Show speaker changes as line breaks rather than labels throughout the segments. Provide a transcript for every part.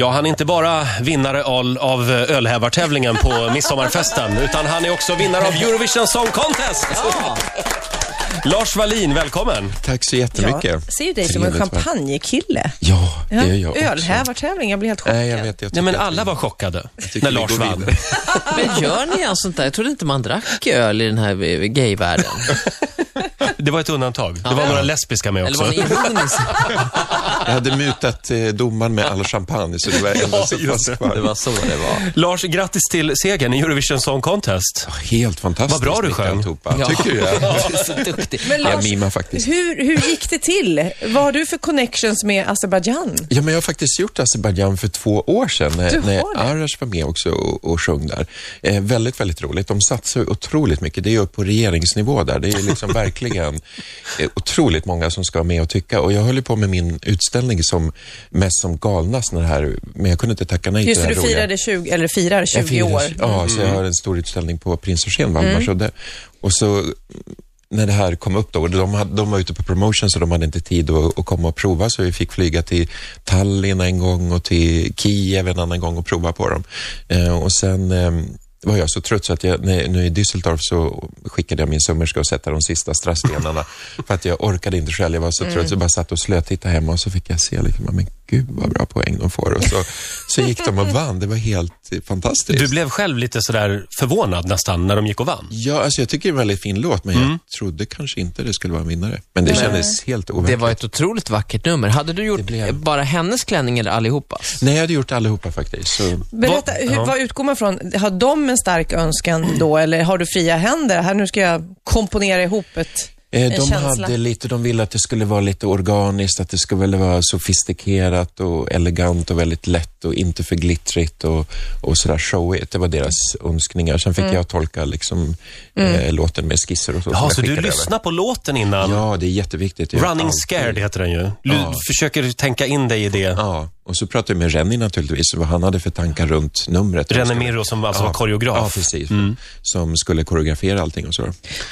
Ja, han är inte bara vinnare av, av ölhävartävlingen på midsommarfesten, utan han är också vinnare av Eurovision Song Contest! Lars Wallin, välkommen!
Tack så jättemycket.
Jag ser ju dig som en
Trevligt, va?
champagnekille.
Ja, det gör jag också.
Ölhävartävling, jag blir helt chockad.
Nej, jag vet. Jag
Nej, men
tycker att
alla
vi-
var chockade
tycker
när
vi
Lars
går
vann.
vidare.
Men gör ni allt sånt där? Jag trodde inte man drack öl i den här eh, gayvärlden.
Det var ett undantag. Det var några lesbiska med
Eller var
också.
ni ironiska?
Jag hade mutat eh, domaren med all champagne, så det var ändå så
just
fast
det.
kvar.
Det var så det var.
Lars, grattis till segern i Eurovision Song Contest.
helt fantastiskt.
Vad bra du
mitt
sjöng.
alltihopa.
Ja.
Tycker du? Ja.
Du är så duktig.
Men
Jag
Lars,
mimar faktiskt.
hur, hur gick det till? Vad har du för connections med Azerbajdzjan?
Ja, men jag har faktiskt gjort Azerbajdzjan för två år sedan
Du
när,
har
när
det?
Arash var med också och, och sjöng där. Eh, väldigt, väldigt roligt. De satsar ju otroligt mycket. Det är ju på regeringsnivå där. Det är ju liksom verkligen eh, otroligt många som ska med och tycka. Och jag höll ju på med min utställning som mest som galnast när det här, men jag kunde inte tacka nej
Just
till
det,
det
du
här roliga.
firade 20, eller firar 20
Jag firar-
år. Mm.
Ja, så jag har en stor utställning på Prins Eugen, Wallmars udde. Och så när det här kom upp då, och de, hade, de var ute på promotion så de hade inte tid att, att komma och prova så vi fick flyga till Tallinn en gång och till Kiev en annan gång och prova på dem. Eh, och sen eh, var jag så trött så att jag, när, nu i Düsseldorf så skickade jag min sömmerska och sätta de sista strasstenarna för att jag orkade inte själv. Jag var så trött så jag bara satt och slötittade hemma och så fick jag se liksom, men gud vad bra poäng de får. Och så, så gick de och vann. Det var helt eh, fantastiskt.
Du blev själv lite sådär förvånad nästan när de gick och vann.
Ja, alltså jag tycker det är en väldigt fin låt, men
Mm.
jag trodde kanske inte det skulle vara en vinnare. Men det kändes helt
Det
overkligt.
var ett otroligt vackert nummer. Hade du gjort
blev-
bara hennes klänning eller allihopas?
Nej, jag hade gjort allihopa faktiskt. Så... eh,
Berätta,
Vad-
hur,
ja.
vad utgår man från? Har de en stark önskan då, eller har du fria händer? Här, nu ska jag komponera ihop ett,
Eh,
en
de
känsla.
hade lite, de ville att det skulle vara lite organiskt, att det skulle vara sofistikerat och elegant och väldigt lätt och inte för glittrigt och, och sådär showigt. Det var deras önskningar. Sen fick
Mm.
jag tolka liksom, eh, låten med skisser och så. som
Jaha,
jag
så du
skickade över.
lyssnar på låten innan?
Ja, det är jätteviktigt. Jag gör
Running
alltid-
Scared heter den ju. Du försöker tänka in dig i det.
Ja, och så pratade jag med Renny naturligtvis, vad han hade för tankar runt numret.
René Mirro som alltså var koreograf.
Ja, precis.
Mm.
Som skulle koreografera allting och så.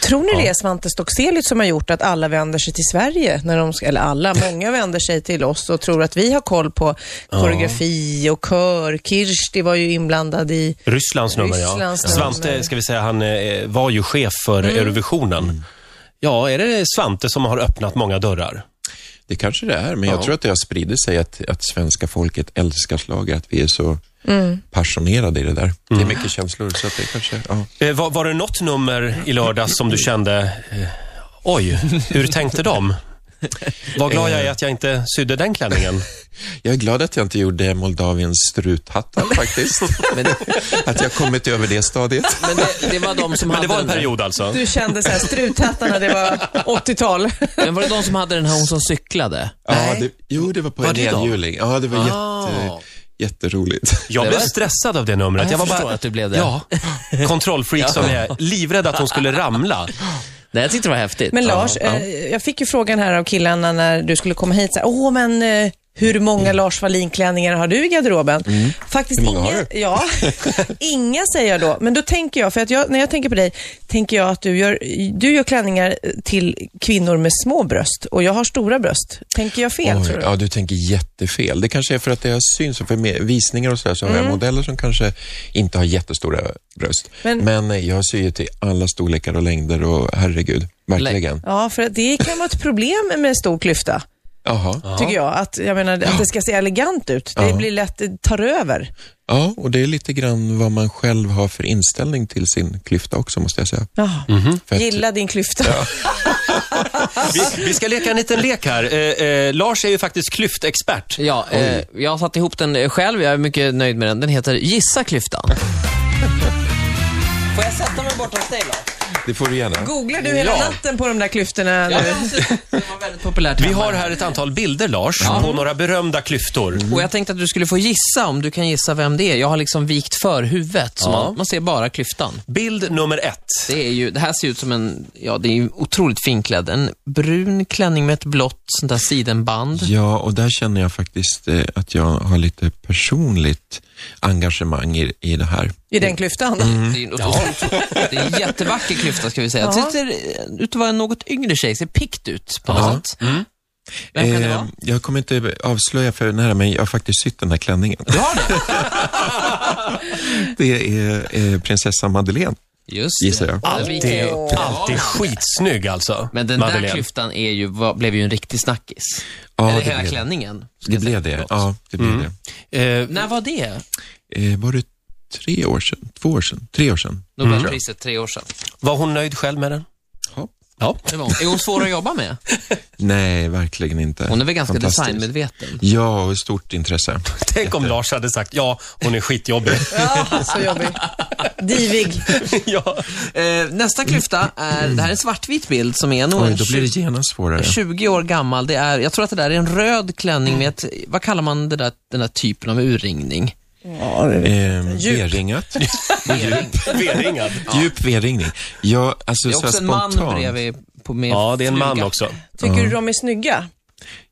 Tror ni det är Svante Stockselius som har gjort att alla vänder sig till Sverige? När de ska, eller alla, många vänder sig till oss och tror att vi har koll på koreografi och kör. Kirsti var ju inblandad i...
Rysslands nummer,
Rysslands
ja.
nummer. Mm.
Svante, ska vi säga, han eh, var ju chef för Eurovisionen. Ja, är det Svante som har öppnat många dörrar?
Det kanske det är, men jag tror att det har spridit sig att, att svenska folket älskar slaget, att vi är så passionerade i det där.
Mm.
Det är mycket känslor, så att det kanske... Ja.
Eh, var, var det något nummer i lördags som du kände, eh, oj, hur tänkte de? Vad glad
Eh.
jag är att jag inte sydde den klänningen.
Jag är glad att jag inte gjorde Moldaviens struthattar faktiskt.
Men,
att jag kommit över det stadiet.
men det, det var de som
Men
hade
det var en
den där-
period alltså.
Du kände så här, struthattarna, det var 80-tal.
Men var det de som hade den här hon som cyklade?
Ja, det, jo, det var på
Var
en
det då?
elhjuling. Ja, det var jätte,
Ah.
jätteroligt.
Jag
Det
blev
var-
stressad av det numret.
Ja, jag
var
förstår att du blev det.
Ja, kontrollfreak som jag är. Livrädd att hon skulle ramla.
Nej, jag tyckte det var häftigt.
Men Lars, eh, jag fick ju frågan här av killarna när du skulle komma hit. Så här, Åh, men eh, hur många Lars Wallin-klänningar har du i garderoben? Faktiskt
Mm. Hur många
inga,
har
Ja, inga säger jag då. Men då tänker jag, för att jag, när jag tänker på dig, tänker jag att du gör, du gör klänningar till kvinnor med små bröst och jag har stora bröst. Tänker jag fel,
Oj,
tror du?
ja, du tänker jättefel. Det kanske är för att det har syns och för med- visningar och sådär så har jag modeller som kanske inte har jättestora bröst.
Men-
Men, eh, jag syr ju till alla storlekar och längder och herregud, verkligen.
Ja, för att det kan vara ett problem med stor klyfta,
Jaha.
tycker jag. Att, jag menar, att det ska se elegant ut. Det blir lätt, det tar över.
Ja, och det är lite grann vad man själv har för inställning till sin klyfta också, måste jag säga.
Jaha.
För att-
Gilla din klyfta.
Vi, vi ska leka en liten lek här. Eh, eh, Lars är ju faktiskt klyftexpert.
Ja, eh, jag har satt ihop den eh, själv. Jag är mycket nöjd med den. Den heter Gissa klyftan. Får jag sätta mig bortom dig, Lars?
Det får du gärna.
Googlar du hela
Ja.
natten på de där klyftorna?
Ja,
nu?
det var väldigt populärt.
Vi har här ett antal bilder, Lars, på några berömda klyftor.
Och jag tänkte att du skulle få gissa, om du kan gissa vem det är. Jag har liksom vikt för huvudet, så man, man ser bara klyftan.
Bild nummer ett.
Det, är ju, det här ser ut som en, ja det är ju otroligt finklädd. En brun klänning med ett blått sånt där sidenband.
Ja, och där känner jag faktiskt eh, att jag har lite personligt engagemang i, i det här.
I den klyftan?
Det, är ju en otroligt, det är en jättevacker klyfta ska vi säga.
Ja.
Det ser ut att vara en något yngre tjej, ser pikt ut på något sätt. Vem kan det vara?
Ehm, jag kommer inte avslöja för nära men jag har faktiskt sytt den här klänningen.
Du har det?
Det är eh, prinsessa Madeleine.
Just
Gissar
det.
jag.
Alltid, alltid skitsnygg alltså.
Men den där
Madeleine.
klyftan är ju, var, blev ju en riktig snackis.
Ja,
Eller
det
hela
blev-
klänningen. ska
Det
jag säga.
blev det.
Förlåt.
Ja, det blev det.
Eh,
När var det?
Eh, var det tre år sedan? Två år sedan? Tre år sedan?
Nobelpriset tre år sedan.
var hon nöjd själv med den?
Ja.
Ja.
Det var hon. Är hon svår att jobba med?
Nej, verkligen inte.
Hon är väl ganska
Fantastisk.
designmedveten.
Ja, och stort intresse.
Tänk om Lars hade sagt ja, hon är skitjobbig.
Ja, så jobbig. Divig.
ja.
Eh, nästa klyfta är, det här är en svartvit bild som är nog
Oj,
en
då blir det
20,
genast svårare.
20 år gammal. Det är, jag tror att det där är en röd
Mm.
klänning med ett, vad kallar man det där, den där typen av urringning?
Eh,
Djup.
V-ringat.
V-ringad.
Djup V-ringning. Ja, alltså
Det är
så här
också en man
spontant.
bredvid på med
Ja, det är en man
fluga.
också.
Tycker du de är snygga?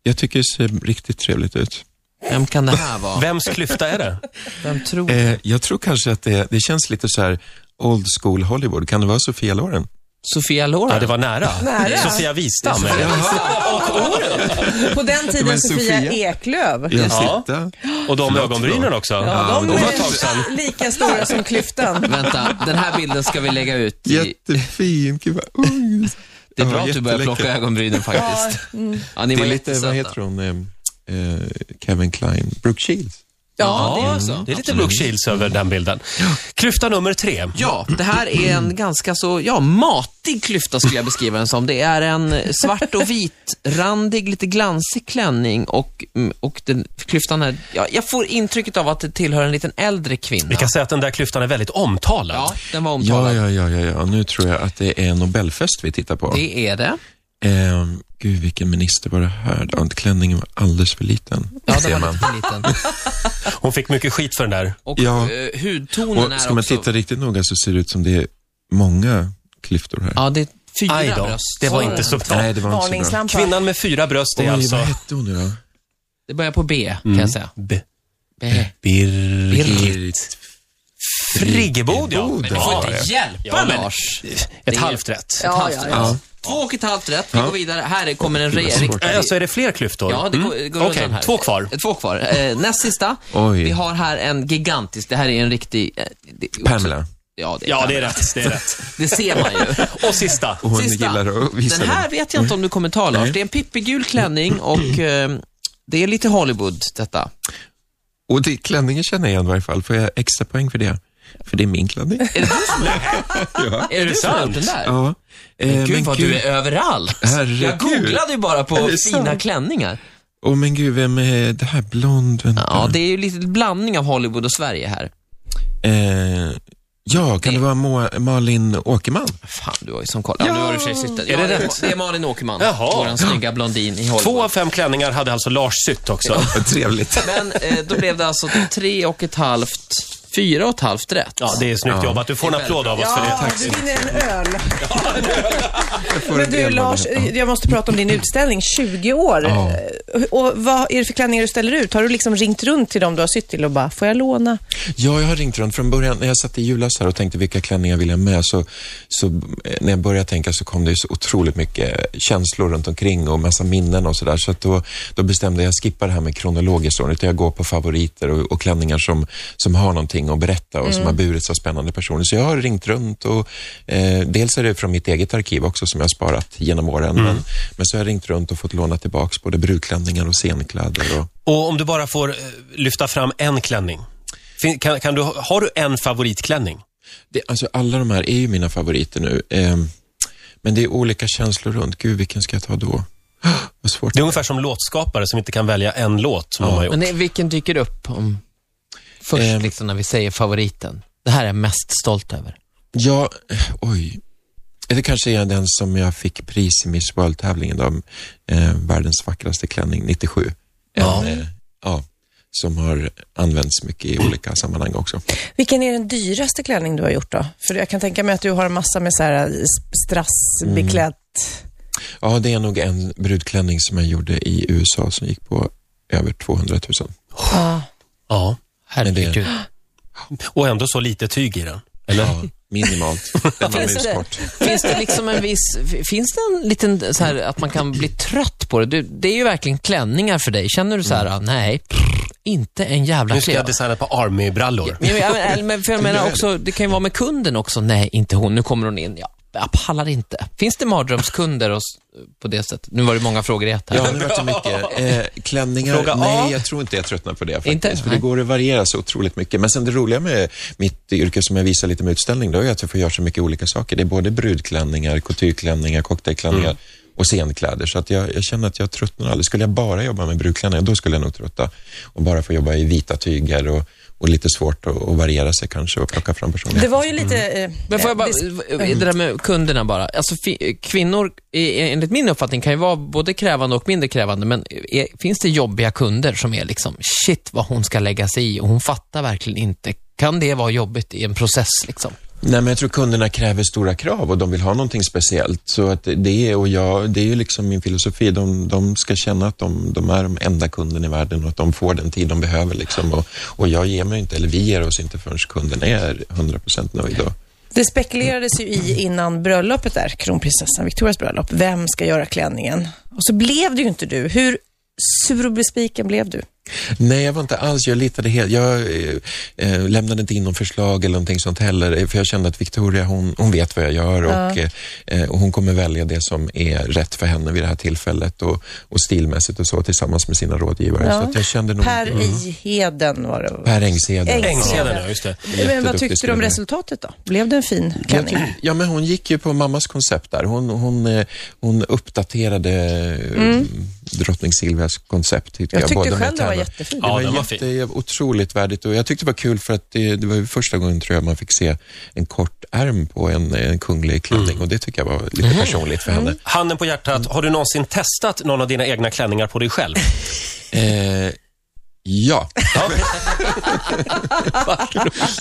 Jag tycker det ser riktigt trevligt ut.
Vem kan det här vara?
Vems klyfta är det?
Vem tror
Eh, jag tror kanske att det, det känns lite så här old school Hollywood. Kan det vara Sofia Loren?
Sofia Loren?
Ja, det var nära.
Nära.
Sofia Wistam. är det.
På den tiden
Men
Sofia,
Sofia?
Eklöv.
Ja,
Ja.
titta.
Och de
Förlåt,
ögonbrynen
förlåt.
också.
Ja, de
de var ett tag sedan.
är lika stora som klyftan.
Vänta, den här bilden ska vi lägga ut. I,
Jättefin. Gud, vad ung.
det är
Ja,
bra att du börjar
jätteläcker.
plocka ögonbrynen faktiskt. Ja, ni
Det
var
är lite,
jättesöta.
vad heter hon, eh, eh, Kevin Klein, Brooke Shields.
Ja, det är så.
det är lite Brooke Shields över den bilden. Klyfta nummer tre.
Ja, det här är en ganska så, ja, matig klyfta skulle jag beskriva den som. Det är en svart och vit, randig, lite glansig klänning och, mm, och den, klyftan är, ja, jag får intrycket av att det tillhör en liten äldre kvinna.
Vi kan säga att den där klyftan är väldigt omtalad.
Ja, den var
Ja,
omtalad.
ja, ja, ja, ja. Nu tror jag att det är Nobelfest vi tittar på.
Det är det.
Ehm, gud, vilken minister var det här? Ja, klänningen var alldeles för liten.
Ja,
ser
den var
man.
lite liten.
Hon fick mycket skit för den där.
Och
Ja.
eh, hudtonen är
Och
också...
ska man titta riktigt noga så ser det ut som det är många klyftor här.
Ja, det är fyra
Aj då,
bröst.
det var
Så-
inte subtilt.
Nej, det var inte så bra.
Varningslampa.
Kvinnan med fyra bröst är
Oj,
alltså...
vad hette hon nu då?
Det börjar på B, kan
Mm.
jag säga.
B-
B.
Birgit
Birgit.
Friggebod, ja.
Friggebod,
Men
Du
det
får
var
inte
det.
hjälpa
Ja, men-
Lars.
Ett halvt rätt.
Ja,
Halvt
ja,
rätt.
ja.
Två och ett halvt rätt. Vi går vidare. Här är- kommer en
Gud, vad
rejäl...
svårt.
Äh, Alltså, är det fler klyftor?
Ja, det går, det
Mm.
går
Okej,
undan här.
två kvar.
Eh, Två kvar. Eh, näst sista.
Oj.
Vi har här en gigantisk, det här är en riktig... Eh, det,
Pamela.
Ja, det är,
Ja,
Pamela.
det är rätt. Det är rätt.
det ser man ju.
Och sista.
Och hon
Sista.
gillar att visa
Den här vet jag inte om du kommer ta, Lars. Det är en pippigul klänning och eh, det är lite Hollywood, detta.
Och det, klänningen känner jag igen i varje fall. Får jag extra poäng för det? För det är min klänning.
Är det du som
ja.
är det du som har
sant?
gjort den där?
ja. Eh,
Gud vad du är överallt.
Herregud.
Jag googlade ju bara på
Är det
fina
sant?
klänningar.
Åh men gud, vem är det här? Blond, vänta.
Ja, det är ju lite blandning av Hollywood och Sverige här.
Eh, ja, kan det vara Ma- Malin Åkerman?
Fan, du har ju som koll. Ja, nu har du i och för sig suttit.
Är det
ja,
rätt?
Det är Malin Åkerman,
Jaha.
våran snygga blondin i Hollywood.
Två av fem klänningar hade alltså Lars sytt också.
Vad trevligt.
Men eh, då blev det alltså tre och ett halvt, fyra och ett halvt rätt.
Ja, det är snyggt jobbat. Du får en applåd av oss för det.
Ja, du vinner en öl.
Får
Men
en
du
del
Lars,
av det.
jag måste prata om din utställning, 20 år.
Ja.
Och vad är det för klänningar du ställer ut? Har du liksom ringt runt till dem du har sytt till och bara, får jag låna?
Ja, jag har ringt runt. Från början, när jag satt i julas här och tänkte vilka klänningar vill jag med, så, så eh, när jag började tänka så kom det ju så otroligt mycket känslor runt omkring och massa minnen och sådär. Så, att då, då bestämde jag att skippa det här med kronologiskt ordning, utan jag går på favoriter och, och klänningar som, som har någonting att berätta och som har burits av spännande personer. Så jag har ringt runt och eh, dels är det från mitt eget arkiv också som jag har sparat genom åren, men, men så har jag ringt runt och fått låna tillbaks både brudklänningar och scenkläder. Och,
Och om du bara får eh, lyfta fram en klänning. Fin- Kan, kan du, har du en favoritklänning?
Det, alltså alla de här är ju mina favoriter nu. Ehm, men det är olika känslor runt. Gud, vilken ska jag ta då? Vad svårt.
Det är ungefär som låtskapare som inte kan välja en låt som de har gjort.
Men det, vilken dyker upp om, först
Ehm.
liksom när vi säger favoriten? Det här är jag mest stolt över.
Ja, eh, oj. Eller kanske är jag den som jag fick pris i Miss World-tävlingen om eh, världens vackraste klänning 97.
Ja.
En, eh, ja, som har använts mycket i olika sammanhang också.
Vilken är den dyraste klänning du har gjort då? För jag kan tänka mig att du har en massa med så här eh, s- strassbeklätt.
Ja, det är nog en brudklänning som jag gjorde i USA som gick på över 200 000.
Ja.
Ja.
Herregud.
Och ändå så lite tyg i den. Eller?
Ja, minimalt. En anmälningskort.
Finns det liksom en viss, finns det en liten så här att man kan bli trött på det? Du, det är ju verkligen klänningar för dig. Känner du så här, ah, nej, inte en jävla
Mm. Nu ska jag
klänning.
designa på Army-brallor.
Ja, men, ja, men, men, för jag menar också, det kan ju vara med kunden också. Nej, inte hon. Nu kommer hon in. Ja, jag pallar inte. Finns det mardrömskunder och, s- på det sättet? Nu var det många frågor i ett här.
Ja, det var så mycket. Eh, klänningar,
Fråga A.
nej, jag tror inte jag tröttnar på det faktiskt.
Inte?
För det
Nej.
går att variera så otroligt mycket. Men sen det roliga med mitt yrke som jag visar lite med utställning, då är att jag får göra så mycket olika saker. Det är både brudklänningar, coutureklänningar, cocktailklänningar och scenkläder. Så att jag, jag känner att jag tröttnar aldrig. Skulle jag bara jobba med brudklänningar, då skulle jag nog trötta. Och bara få jobba i vita tyger och, och lite svårt att, att variera sig kanske och plocka fram personer.
Det var ju lite...
Mm.
eh,
Men får jag bara,
eh, vis-
det där med kunderna bara. Alltså, fi- kvinnor, i- enligt min uppfattning, kan ju vara både krävande och mindre krävande, men är, finns det jobbiga kunder som är liksom, shit vad hon ska lägga sig i och hon fattar verkligen inte. Kan det vara jobbigt i en process liksom?
Nej, men jag tror kunderna kräver stora krav och de vill ha någonting speciellt. Så att det, är, och jag, det är ju liksom min filosofi. De, de ska känna att de, de är de enda kunden i världen och att de får den tid de behöver. Liksom. Och, och jag ger mig inte, eller vi ger oss inte förrän kunden är 100% nöjd. Och,
Det spekulerades ju i innan bröllopet där, kronprinsessan Victorias bröllop, vem ska göra klänningen? Och så blev det ju inte du. Hur sur och besviken blev du?
Nej, jag var inte alls, jag litade helt. Jag eh, eh, lämnade inte in någon förslag eller någonting sånt heller, eh, för jag kände att Victoria, hon, hon vet vad jag gör och, eh, eh, och hon kommer välja det som är rätt för henne vid det här tillfället och, och stilmässigt och så tillsammans med sina rådgivare.
Ja.
Så att jag kände nog... Mm.
Per i Heden var det.
Per Engsheden.
Eng-
Ängseden, ja, just det.
Men vad
jätteduktig
tyckte du om
skräddare.
resultatet då? Blev det en fin
Jag
klänning?
tyck- Ja, men hon gick ju på mammas koncept där. Hon, hon, eh, hon uppdaterade mm. drottning Silvias koncept. Tyckte
Jag
jag,
tyckte
både med
själv det var
tärna-
jättefin.
Ja,
det
den
var,
var
jätte, otroligt värdigt och jag tyckte det var kul för att det, det var ju första gången tror jag man fick se en kort ärm på en, en kunglig klänning
Mm.
och det tycker jag var lite personligt för henne.
Handen på hjärtat, har du någonsin testat någon av dina egna klänningar på dig själv? Mm.
Eh, ja.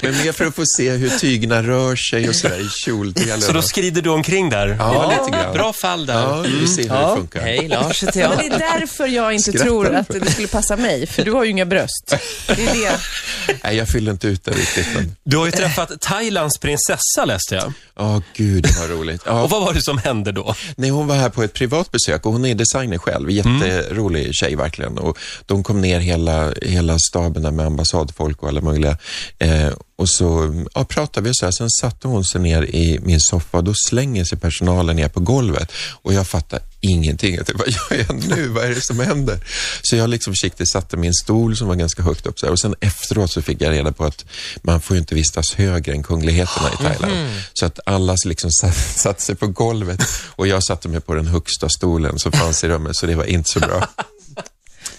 Men mer för att få se hur tygerna rör sig och sådär i kjoldelen.
Så då skrider du omkring där?
Ja, lite grann.
Bra fall där.
Ja, vi ser hur det funkar.
Hej Lars heter
Ja,
jag.
men det är därför jag inte
Skrattar
tror
du?
att det skulle passa mig, för du har ju inga bröst. Det är det.
Nej, jag fyller inte ut det riktigt. Men...
Du har ju träffat Thailands prinsessa läste jag.
Ja, gud vad roligt. Ja,
Och vad var det som hände då?
Nej, hon var här på ett privat besök och hon är designer själv. Jätterolig tjej verkligen. Och de kom ner hela, hela staben där med ambassadfolk och alla möjliga. Eh, och så ja, pratade vi och så här. Sen satte hon sig ner i min soffa och då slänger sig personalen ner på golvet. Och jag fattar ingenting. Jag tänkte, vad gör jag nu? Vad är det som händer? Så jag liksom försiktigt satte min stol som var ganska högt upp. Så här. Och sen efteråt så fick jag reda på att man får ju inte vistas högre än kungligheterna
Ah,
i Thailand.
mhm.
Så att alla liksom satt, satt sig på golvet och jag satte mig på den högsta stolen som fanns i rummet, så det var inte så bra.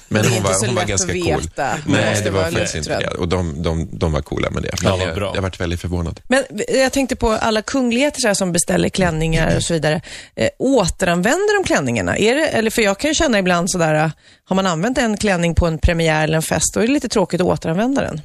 Men
Det är
hon
inte
var,
så
hon var
lätt
ganska
att
cool.
veta. Man
Nej,
måste
det var
vara
faktiskt inte
lättrad.
det. Och de, de, de var coola med det. Men
vad
jag,
bra.
jag varit väldigt förvånad.
Men eh, jag tänkte på alla kungligheter så här som beställer klänningar och så vidare. Eh, återanvänder de klänningarna? Är det, eller för jag kan ju känna ibland sådär, eh, har man använt en klänning på en premiär eller en fest, då är det lite tråkigt att återanvända den.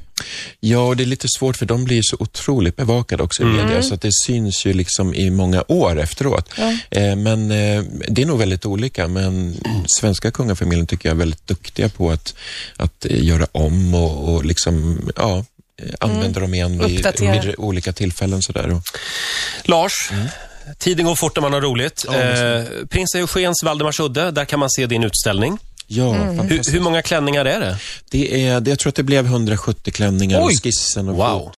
Ja, och det är lite svårt för de blir ju så otroligt bevakade också i
Mm.
media så att det syns ju liksom i många år efteråt. Eh, men eh, det är nog väldigt olika, men svenska kungafamiljen tycker jag är väldigt duktiga på att, att eh, göra om och, och liksom, ja, eh,
Mm.
använda dem igen vid,
Uppdatera.
vid olika tillfällen. Sådär. Och,
Lars, Mm. tiden går fort när man har roligt. eh, Prins Eugens Valdemarsudde, där kan man se din utställning.
ja,
Hur,
fantastiskt.
hur många klänningar är det?
Det är, det, jag tror att det blev 170 klänningar
Oj!
och skissen och
Wow.